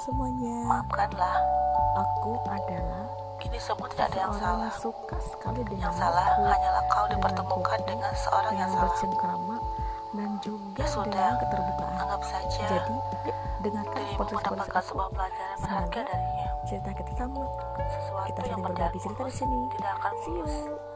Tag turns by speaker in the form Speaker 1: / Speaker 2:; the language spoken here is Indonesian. Speaker 1: semuanya.
Speaker 2: Maafkanlah,
Speaker 1: Aku adalah
Speaker 2: ini semua tidak ada yang
Speaker 1: seorang
Speaker 2: salah.
Speaker 1: yang suka sekali dengan
Speaker 2: Yang salah
Speaker 1: aku,
Speaker 2: hanyalah kau
Speaker 1: dengan
Speaker 2: dipertemukan
Speaker 1: bodoh,
Speaker 2: dengan seorang yang
Speaker 1: dengan
Speaker 2: salah.
Speaker 1: bersengkrama, dan juga
Speaker 2: Ya sudah,
Speaker 1: dengan keterbukaan.
Speaker 2: Anggap saja
Speaker 1: Jadi, yuk, dengarkan
Speaker 2: dirimu
Speaker 1: podcast-podcast
Speaker 2: mendapatkan
Speaker 1: aku.
Speaker 2: sebuah pelajaran berharga
Speaker 1: Semoga
Speaker 2: darinya.
Speaker 1: cerita kita sama.
Speaker 2: Sesuatu
Speaker 1: Kita
Speaker 2: yang
Speaker 1: saling
Speaker 2: berdaya
Speaker 1: berbagi cerita di
Speaker 2: tulus
Speaker 1: sini.
Speaker 2: tidak akan
Speaker 1: See you.
Speaker 2: mulus.